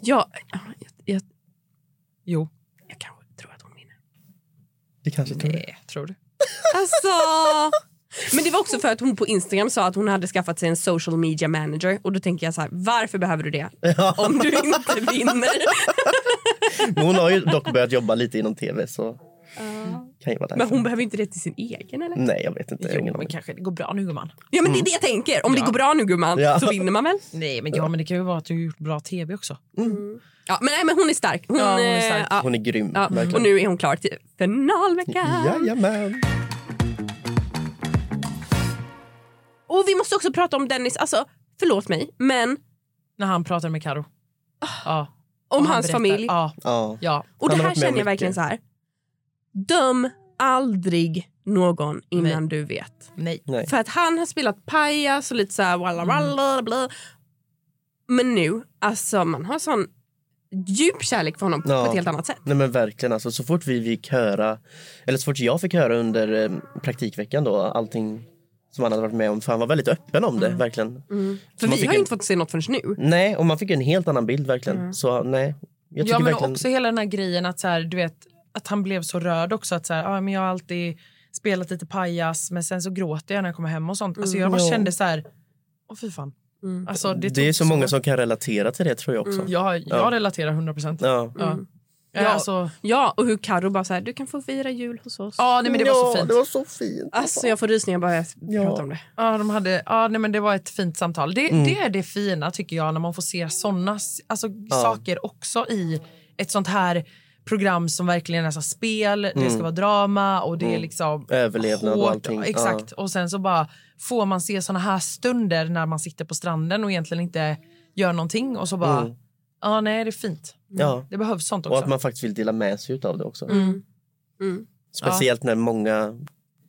Speaker 1: Ja. Jag, jag,
Speaker 2: Jo.
Speaker 1: jag kanske tror att hon vinner.
Speaker 6: Det kanske tror det.
Speaker 2: Nej, tror du?
Speaker 1: Alltså. Men det var också för att hon på Instagram sa att hon hade skaffat sig en social media manager. Och då tänker jag så här, varför behöver du det? Om du inte vinner.
Speaker 6: *laughs* Men hon har ju dock börjat jobba lite inom tv så kan ju vara därför.
Speaker 1: Men hon behöver inte det till sin egen eller?
Speaker 6: Nej, jag vet inte. Jag har ingen
Speaker 2: Jo, men
Speaker 6: aning.
Speaker 2: kanske det går bra nu gumman.
Speaker 1: Ja men det är det jag
Speaker 2: Mm.
Speaker 1: tänker. Om det går bra nu gumman
Speaker 6: Ja.
Speaker 1: så vinner man väl?
Speaker 2: Nej, men ja, men det kan ju vara att du har gjort bra tv också.
Speaker 1: Ja men nej men hon är stark. Hon,
Speaker 2: Ja, hon är
Speaker 1: eh,
Speaker 2: stark.
Speaker 1: ja.
Speaker 6: Hon är grym.
Speaker 1: Ja, och nu är hon klar till finalveckan.
Speaker 6: Jajamän.
Speaker 1: Och vi måste också prata om Dennis, alltså förlåt mig, men
Speaker 2: När han pratade med Karo. Ja.
Speaker 1: Ah. om
Speaker 2: Och han
Speaker 1: hans
Speaker 2: berättar-
Speaker 1: familj.
Speaker 2: Ja.
Speaker 6: Ja.
Speaker 2: ja.
Speaker 1: Och det
Speaker 6: Han har
Speaker 1: här
Speaker 6: varit med
Speaker 1: känner jag
Speaker 6: mycket.
Speaker 1: verkligen så här. Döm aldrig någon innan du vet.
Speaker 2: Nej.
Speaker 6: Nej.
Speaker 1: För att han har spelat pajas och lite så här walla walla bla. Men nu, alltså man har sån djup kärlek för honom på-
Speaker 6: Ja.
Speaker 1: på ett helt annat sätt.
Speaker 6: Nej men verkligen alltså, så fort vi fick höra, eller så fort jag fick höra under eh, praktikveckan då, allting som han hade varit med om, för han var väldigt öppen om det, verkligen.
Speaker 1: För
Speaker 6: man
Speaker 1: vi
Speaker 6: fick
Speaker 1: har ju
Speaker 6: en-
Speaker 1: inte fått se något förrän nu.
Speaker 6: Nej, och man fick ju en helt annan bild verkligen. Så nej, jag tycker
Speaker 2: Ja, men
Speaker 6: verkligen...
Speaker 2: också hela den här grejen att, så här, du vet, att han blev så rörd också. Att så här, ah, men jag har alltid spelat lite pajas, men sen så gråter jag när jag kommer hem och sånt. Alltså, jag bara
Speaker 6: Mm. Ja. Mm.
Speaker 2: kände så här, åh fy fan. Alltså, det,
Speaker 6: det,
Speaker 2: tog Mm,
Speaker 6: är så många som kan relatera till det tror jag också.
Speaker 2: Ja, jag
Speaker 6: Ja.
Speaker 2: relaterar 100 procent. Ja.
Speaker 6: Ja.
Speaker 2: Ja.
Speaker 1: Ja.
Speaker 2: Alltså,
Speaker 1: Ja, och hur Karo bara så här, du kan få fira jul hos oss.
Speaker 2: ja, nej, men det var så fint.
Speaker 6: Det var så fint.
Speaker 1: Alltså jag får rysningar bara jag pratar om det.
Speaker 2: Ja, de hade, ja, nej, men det var ett fint samtal. Det,
Speaker 6: Mm.
Speaker 2: det är det fina tycker jag när man får se såna s- alltså, saker också i ett sånt här program som verkligen är så här spel, det ska vara drama och det är liksom
Speaker 6: Mm. Överlevnad och
Speaker 2: hårt.
Speaker 6: allting.
Speaker 2: Ja, Exakt. Och sen så bara får man se såna här stunder när man sitter på stranden och egentligen inte gör någonting och så bara, ja nej det är fint.
Speaker 6: Mm. Ja.
Speaker 2: Det behövs sånt
Speaker 6: Och
Speaker 2: Mm. också.
Speaker 6: att man faktiskt vill dela med sig av det också. Speciellt när många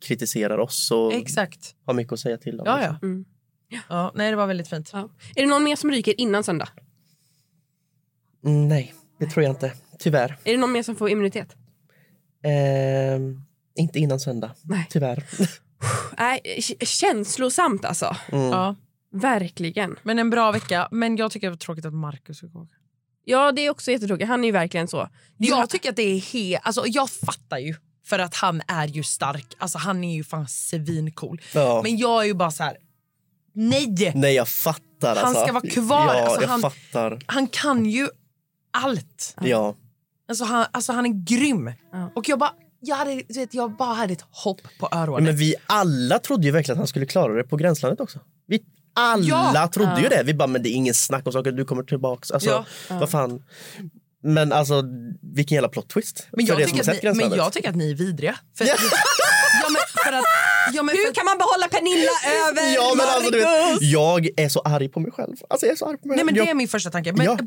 Speaker 6: kritiserar oss och
Speaker 2: Exakt.
Speaker 6: har mycket att säga till om.
Speaker 2: Ja,
Speaker 6: liksom.
Speaker 2: ja. ja. Nej, det var väldigt fint.
Speaker 1: Ja. Är det någon mer som ryker innan söndag?
Speaker 6: Mm, nej, det tror jag inte. Tyvärr.
Speaker 1: Är det någon mer som får immunitet?
Speaker 6: Ehm, inte innan söndag,
Speaker 1: Nej.
Speaker 2: *laughs*
Speaker 6: tyvärr.
Speaker 1: Nej, k- känslosamt alltså.
Speaker 2: Ja.
Speaker 1: Verkligen.
Speaker 2: Men en bra vecka. Men jag tycker det var tråkigt att Marcus gick åka.
Speaker 1: Ja, det är också jättetråkigt. Han är ju verkligen så. Det är ju-
Speaker 2: Jag tycker att det är helt... Alltså, jag fattar ju. För att han är ju stark. Alltså, han är ju fan svincool.
Speaker 6: Ja.
Speaker 2: Men jag är ju bara så här... Nej!
Speaker 6: Nej, jag fattar.
Speaker 2: Han
Speaker 6: alltså.
Speaker 2: ska vara kvar,
Speaker 6: Ja,
Speaker 2: alltså,
Speaker 6: jag
Speaker 2: han-
Speaker 6: fattar.
Speaker 2: Han kan ju allt.
Speaker 6: Ja.
Speaker 2: Alltså, han, alltså, han är grym. Och jag bara... Jag, hade, du vet, jag bara hade ett hopp på
Speaker 6: Ja, Men
Speaker 2: öronen.
Speaker 6: vi alla trodde ju verkligen att han skulle klara det på Gränslandet också. Vi alla
Speaker 2: Ja.
Speaker 6: trodde ju det. Vi bara, men det är ingen snack om saker, du kommer tillbaks. Alltså,
Speaker 2: Ja.
Speaker 6: vad fan. Men alltså, vilken jävla plot twist.
Speaker 2: Men
Speaker 6: för
Speaker 2: jag,
Speaker 6: det som
Speaker 2: tycker
Speaker 6: har sett
Speaker 2: att ni, men
Speaker 6: Gränslandet.
Speaker 2: jag tycker att ni är vidriga. För, *laughs* ja. men för att, ja, men för,
Speaker 1: Hur kan man behålla *laughs* Pernilla över
Speaker 6: Ja, men alltså, du vet,
Speaker 1: Marcus?
Speaker 6: jag är så arg på mig själv. Alltså, jag är så arg på mig
Speaker 2: Nej, men
Speaker 6: själv.
Speaker 2: det är min första tanke. Men,
Speaker 6: Ja.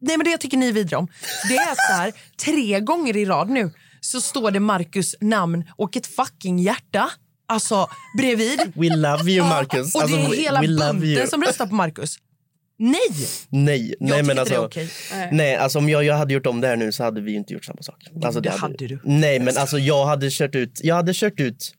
Speaker 2: Nej, men det jag tycker ni är vidriga om, det är att så här, tre gånger i rad nu så står det Marcus namn och ett fucking hjärta. Alltså bredvid.
Speaker 6: We love you, Marcus.
Speaker 2: Och
Speaker 6: Alltså,
Speaker 2: det är
Speaker 6: we-
Speaker 2: hela
Speaker 6: we love you.
Speaker 2: bunten som röstar på Marcus. Nej!
Speaker 6: Nej, nej
Speaker 2: tycker
Speaker 6: men
Speaker 2: inte
Speaker 6: alltså,
Speaker 2: det är okej.
Speaker 6: Nej, alltså om jag, jag hade gjort om det här nu så hade vi ju inte gjort samma sak. Alltså,
Speaker 2: det hade du.
Speaker 6: Nej, men alltså jag hade kört ut, jag hade kört ut,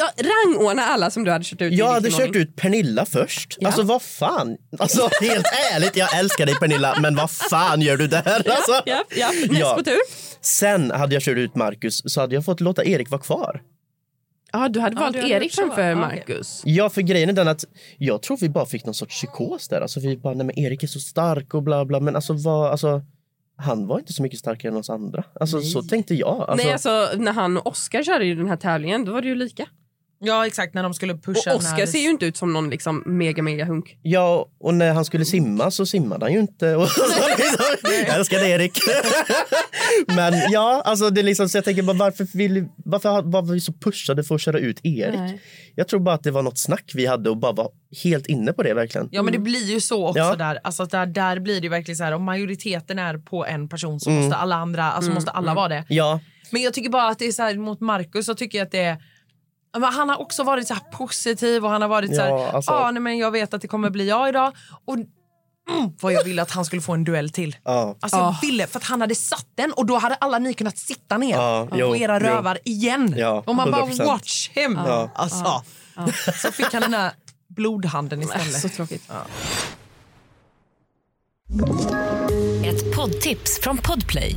Speaker 1: Ja, rangordna alla som du hade kört ut. i
Speaker 6: jag hade
Speaker 1: vilken
Speaker 6: kört
Speaker 1: ordning.
Speaker 6: ut Pernilla först. Alltså vad fan? Alltså helt ärligt, jag älskar dig Pernilla, men vad fan gör du där? Alltså.
Speaker 1: Ja, ja. Näst
Speaker 6: Ja.
Speaker 1: på tur.
Speaker 6: Sen hade jag kört ut Marcus så hade jag fått låta Erik vara kvar.
Speaker 1: Ja, du hade valt
Speaker 2: du hade
Speaker 1: Erik
Speaker 2: gjort så.
Speaker 1: framför
Speaker 2: Ja, okej.
Speaker 1: Marcus.
Speaker 6: Ja, för grejen är den att jag tror vi bara fick någon sorts psykos där. Alltså vi bara, nej men Erik är så stark och bla bla, men alltså vad, alltså han var inte så mycket starkare än oss andra. Alltså så tänkte jag. Alltså,
Speaker 1: Nej, alltså när han och Oscar körde ju den här tävlingen, då var det ju lika.
Speaker 2: Ja exakt, när de skulle pusha.
Speaker 1: Och Oscar
Speaker 2: när...
Speaker 1: ser ju inte ut som någon liksom mega mega hunk.
Speaker 6: Ja, och när han skulle simma så simmade han ju inte. Och så liksom, *laughs* jag älskar dig, Erik. Men ja, alltså det är liksom, så jag tänker bara, varför, vill, varför var vi så pushade för att köra ut Erik?
Speaker 1: Nej.
Speaker 6: Jag tror bara att det var något snack vi hade och bara var helt inne på det verkligen.
Speaker 2: Ja men det blir ju så också
Speaker 6: Mm. Ja.
Speaker 2: där. Alltså där, där blir det ju verkligen så här om majoriteten är på en person
Speaker 6: Mm.
Speaker 2: så måste alla andra,
Speaker 1: Mm.
Speaker 2: alltså måste alla vara det.
Speaker 6: Ja,
Speaker 2: Men jag tycker bara att det är så här mot Markus så tycker jag att det är Ja, men han har också varit så här positiv och han har varit så här,
Speaker 6: Ja, alltså.
Speaker 2: ah, nej, men jag vet att det kommer bli jag idag. Och mm, vad jag ville att han skulle få en duell till.
Speaker 6: ja.
Speaker 2: Alltså
Speaker 1: Ah.
Speaker 2: jag ville, för att han hade satt den och då hade alla ni kunnat sitta ner
Speaker 6: Ja,
Speaker 2: på
Speaker 6: Ah, jo,
Speaker 2: era
Speaker 6: jo.
Speaker 2: rövar igen.
Speaker 6: Ja,
Speaker 2: och man bara
Speaker 6: 100%.
Speaker 2: watch him.
Speaker 6: Ja.
Speaker 2: Alltså. Så fick han den här blodhanden
Speaker 1: *laughs*
Speaker 2: istället.
Speaker 1: Så tråkigt.
Speaker 3: Ett poddtips från Podplay.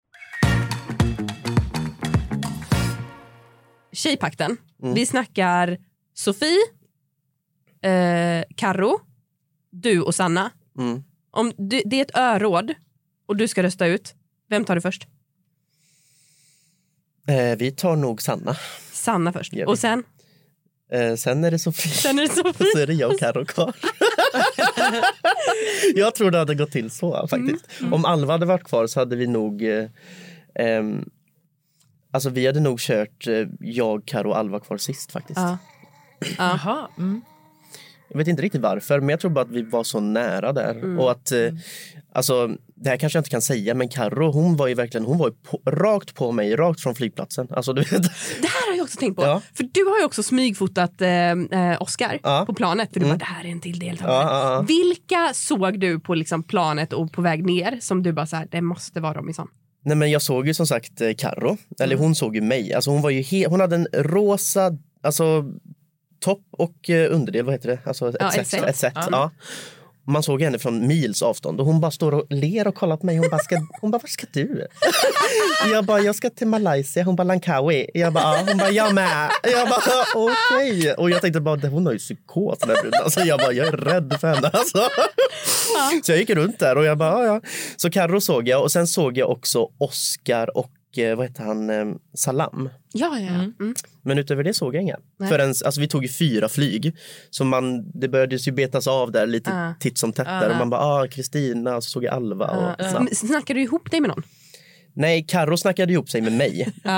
Speaker 1: Tjejpakten.
Speaker 6: Mm.
Speaker 1: Vi snackar Sofie, eh, Karo, du och Sanna.
Speaker 6: Mm.
Speaker 1: Om du, det är ett öråd och du ska rösta ut, vem tar du först?
Speaker 6: Eh, vi tar nog Sanna.
Speaker 1: Sanna först.
Speaker 6: Gör vi.
Speaker 1: Och sen?
Speaker 6: Eh, sen är det Sofie.
Speaker 1: Sen är det
Speaker 6: *laughs* Och så
Speaker 1: Sofie.
Speaker 6: är det jag och Carro kvar. *laughs* jag tror det hade gått till så faktiskt.
Speaker 1: Mm,
Speaker 6: Om Alva hade varit kvar så hade vi nog... Eh, ehm, alltså vi hade nog kört eh, jag, Carro och Alva kvar sist faktiskt.
Speaker 1: Ja.
Speaker 2: Jaha. Mm.
Speaker 6: Jag vet inte riktigt varför, men jag tror bara att vi var så nära där.
Speaker 1: Mm,
Speaker 6: Och att, eh, alltså, det här kanske jag inte kan säga, men Carro hon var ju verkligen hon var ju på, rakt på mig, rakt från flygplatsen. Alltså, du
Speaker 1: *laughs*
Speaker 6: vet,
Speaker 1: Det här har jag också tänkt på.
Speaker 6: Ja.
Speaker 1: För du har ju också smygfotat eh, eh, Oscar
Speaker 6: Ja. Mm.
Speaker 1: på planet. För du bara, det här är en till deltagare.
Speaker 6: Ja, ja, ja.
Speaker 1: Vilka såg du på liksom planet och på väg ner som du bara så här, det måste vara dem i sån?
Speaker 6: Nej, men jag såg ju som sagt eh, Karo. Eller
Speaker 1: Mm.
Speaker 6: hon såg ju mig. Alltså, hon, var ju he- hon hade en rosa alltså, topp och eh, underdel. Vad heter det? Alltså, ett
Speaker 1: Ja,
Speaker 6: set,
Speaker 1: ett set.
Speaker 6: Ett set, ja. Man såg henne från mils avstånd och hon bara står och ler och kollar på mig. Hon bara, ska, hon bara vart ska du? Jag bara, jag ska till Malaysia. Hon bara, Langkawi. Jag bara, ja. Hon bara, jag med. Jag bara, okej. Och jag tänkte bara, hon har ju psykos den här bruden. Alltså, jag bara, jag är rädd för henne. Alltså. Så jag gick runt där och jag bara, ja, ja. Så Carro såg jag och sen såg jag också Oscar och eh, vad heter han, eh, Salam.
Speaker 1: Ja, ja, ja. Mm.
Speaker 6: Men utöver det såg jag inga.
Speaker 1: Nej.
Speaker 6: Förrän, alltså, vi tog ju fyra flyg, så man, det började ju betas av där lite
Speaker 1: Ah.
Speaker 6: titt som tätt. Där. Och man bara, ah, Kristina, och så såg jag Alva. Och,
Speaker 1: Sn- Snackar du ihop dig med någon?
Speaker 6: Nej, Karo snackade ihop sig med mig. Eh,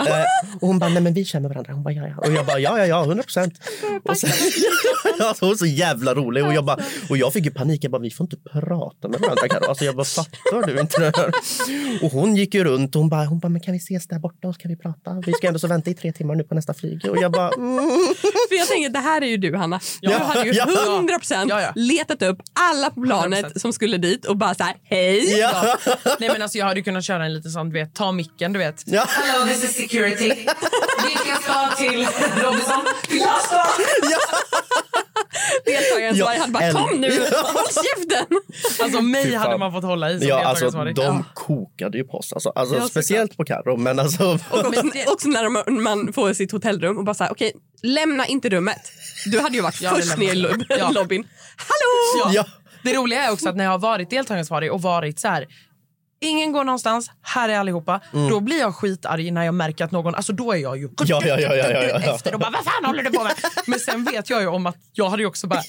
Speaker 6: och hon bara, nej men vi känner varandra. Hon bara, ja, ja. Och jag bara, ja, ja, ja, 100 procent. *laughs* Hon var så jävla rolig. Och jag, bara, och jag fick ju panik. Jag bara, vi får inte prata med varandra, Karo. Alltså, jag bara, fattar du inte det här? Och hon gick ju runt. och Hon bara, hon bara, men kan vi ses där borta och så kan vi prata? Vi ska ändå så vänta i tre timmar nu på nästa flyg. Och jag bara, mm.
Speaker 1: För jag tänker, det här är ju du Hanna. Du
Speaker 6: Ja.
Speaker 1: hade ju
Speaker 6: Ja.
Speaker 1: 100%
Speaker 2: Ja, ja.
Speaker 1: letat upp alla på planet
Speaker 2: 100%.
Speaker 1: som skulle dit och bara så här, hej.
Speaker 2: *laughs*
Speaker 6: ja.
Speaker 2: Nej, men alltså, jag hade ju kunnat köra en liten sån, du vet, ta micken, du vet.
Speaker 6: Ja.
Speaker 2: Hello, this is security. Vilka ska till Robinson? Jag ska!
Speaker 1: Deltagaren
Speaker 6: Ja,
Speaker 1: ja. hade bara,
Speaker 6: en-
Speaker 1: kom nu, *laughs* håll käften.
Speaker 2: Alltså mig
Speaker 6: Fy
Speaker 2: hade
Speaker 6: fan.
Speaker 2: man fått hålla i som
Speaker 6: Ja,
Speaker 2: deltagare
Speaker 6: alltså,
Speaker 2: som var det.
Speaker 6: de kokade ju på oss. Alltså, alltså,
Speaker 2: såklart.
Speaker 6: speciellt på Karo, men alltså...
Speaker 1: Och också, också när de, man får sitt hotellrum och bara så här, okej, lämna inte rummet. Du hade ju varit
Speaker 2: Ja,
Speaker 1: först
Speaker 2: det
Speaker 1: ner i
Speaker 2: lämnar
Speaker 1: lob-
Speaker 2: jag. Ja.
Speaker 1: lobbyn. Hallå!
Speaker 2: Ja.
Speaker 6: Ja.
Speaker 2: Det roliga är också att när jag har varit deltagaransvarig och varit så här Ingen går någonstans, här är allihopa.
Speaker 6: Mm.
Speaker 2: Då blir jag skitarg när jag märker att någon, alltså då är jag ju
Speaker 6: *laughs* Ja, ja, ja, ja, ja, ja.
Speaker 2: efter och bara vad fan håller du på med? Men sen vet jag ju om att jag hade ju också
Speaker 6: *laughs*
Speaker 2: bara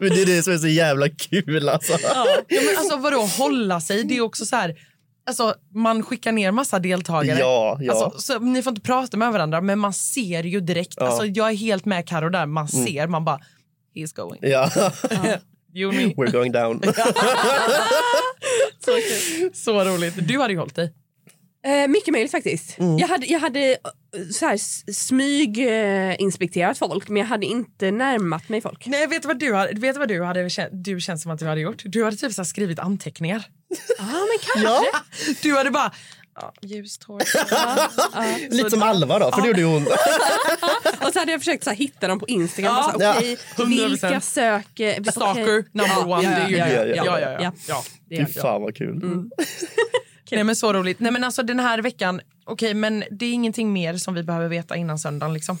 Speaker 6: Men det är det som är så jävla kul alltså.
Speaker 2: ja, men alltså vadå hålla sig? Det är också så här, alltså man skickar ner massa deltagare.
Speaker 6: Ja, ja.
Speaker 2: Alltså, så, ni får inte prata med varandra men man ser ju direkt, alltså jag är helt med Karo där, man
Speaker 6: Mm.
Speaker 2: ser, man bara he's going.
Speaker 6: Ja, *laughs*
Speaker 2: You and me.
Speaker 6: we're going down.
Speaker 2: *laughs* Så roligt. Du hade ju hållit dig.
Speaker 1: Eh, mycket möjligt faktiskt. Jag hade, jag hade eh, så här, s- smyg eh, inspekterat folk men jag hade inte närmat mig folk.
Speaker 2: Nej, vet du vad du hade, vet du vad du hade kä- du känns som att du hade gjort? Du hade typ så här skrivit anteckningar.
Speaker 1: Ja, men kanske.
Speaker 2: Du hade bara ja, ljust hår.
Speaker 6: Lite som Alva då, för det gjorde ju hon.
Speaker 1: Och så hade jag försökt så här, hitta dem på Instagram.
Speaker 2: Ja.
Speaker 1: Ja. Bara, så här,
Speaker 2: *laughs*
Speaker 1: okej, vilka söker...
Speaker 2: 100%.
Speaker 1: okej.
Speaker 2: Stalker number one. det är ju
Speaker 1: ja,
Speaker 2: du.
Speaker 1: ja,
Speaker 6: ja,
Speaker 2: ja, ja, ja. ja.
Speaker 6: Fy fan vad kul.
Speaker 2: Mm. Nej men så roligt. Nej men alltså den här veckan, okej men det är ingenting mer som vi behöver veta innan söndagen liksom.